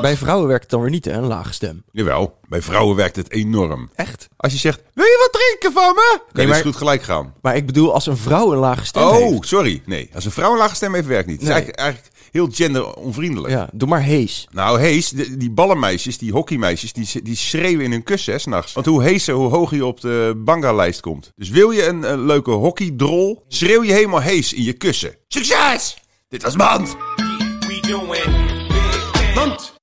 bij vrouwen werkt het dan weer niet, hè? Een lage stem. Jawel, bij vrouwen werkt het enorm. Echt? Als je zegt, wil je wat drinken van me? Kan Nee, je maar- dus goed gelijk gaan. Maar ik bedoel, als een vrouw een lage stem Oh, heeft... sorry. Nee, als een vrouw een lage stem heeft, werkt niet. Het is Nee. eigenlijk, eigenlijk heel genderonvriendelijk. Ja, doe maar hees. Nou, hees, de- die ballenmeisjes, die hockeymeisjes, die, s- die schreeuwen in hun kussen hè, 's nachts. Want hoe heeser, hoe hoger je op de banga-lijst komt. Dus wil je een, eh, leuke hockeydrol, schreeuw je helemaal hees in je kussen. Succes! Dit was Mand! We doing big things.